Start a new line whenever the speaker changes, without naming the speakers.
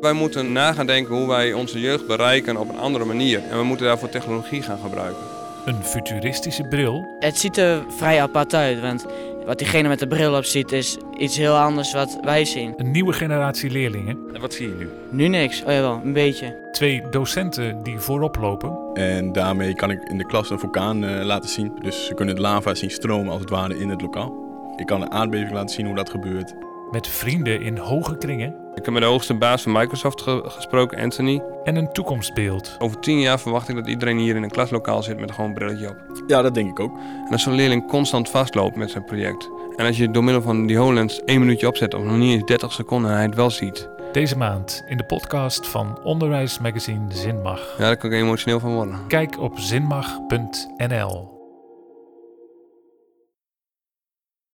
Wij moeten na gaan denken hoe wij onze jeugd bereiken op een andere manier. En we moeten daarvoor technologie gaan gebruiken.
Een futuristische bril?
Het ziet er vrij apart uit, want wat diegene met de bril op ziet is iets heel anders wat wij zien.
Een nieuwe generatie leerlingen?
En wat zie je nu?
Nu niks, oh jawel, een beetje.
Twee docenten die voorop lopen?
En daarmee kan ik in de klas een vulkaan eh, laten zien. Dus ze kunnen het lava zien stromen als het ware in het lokaal. Ik kan een aardbeving laten zien hoe dat gebeurt.
Met vrienden in hoge kringen?
Ik heb met de hoogste baas van Microsoft ge- gesproken, Anthony.
En een toekomstbeeld?
Over tien jaar verwacht ik dat iedereen hier in een klaslokaal zit met gewoon een brilletje op.
Ja, dat denk ik ook.
En als zo'n leerling constant vastloopt met zijn project. En als je door middel van die HoloLens één minuutje opzet of nog niet eens 30 seconden en hij het wel ziet.
Deze maand in de podcast van onderwijsmagazine Zinmag.
Ja, daar kan ik emotioneel van worden.
Kijk op zinmag.nl.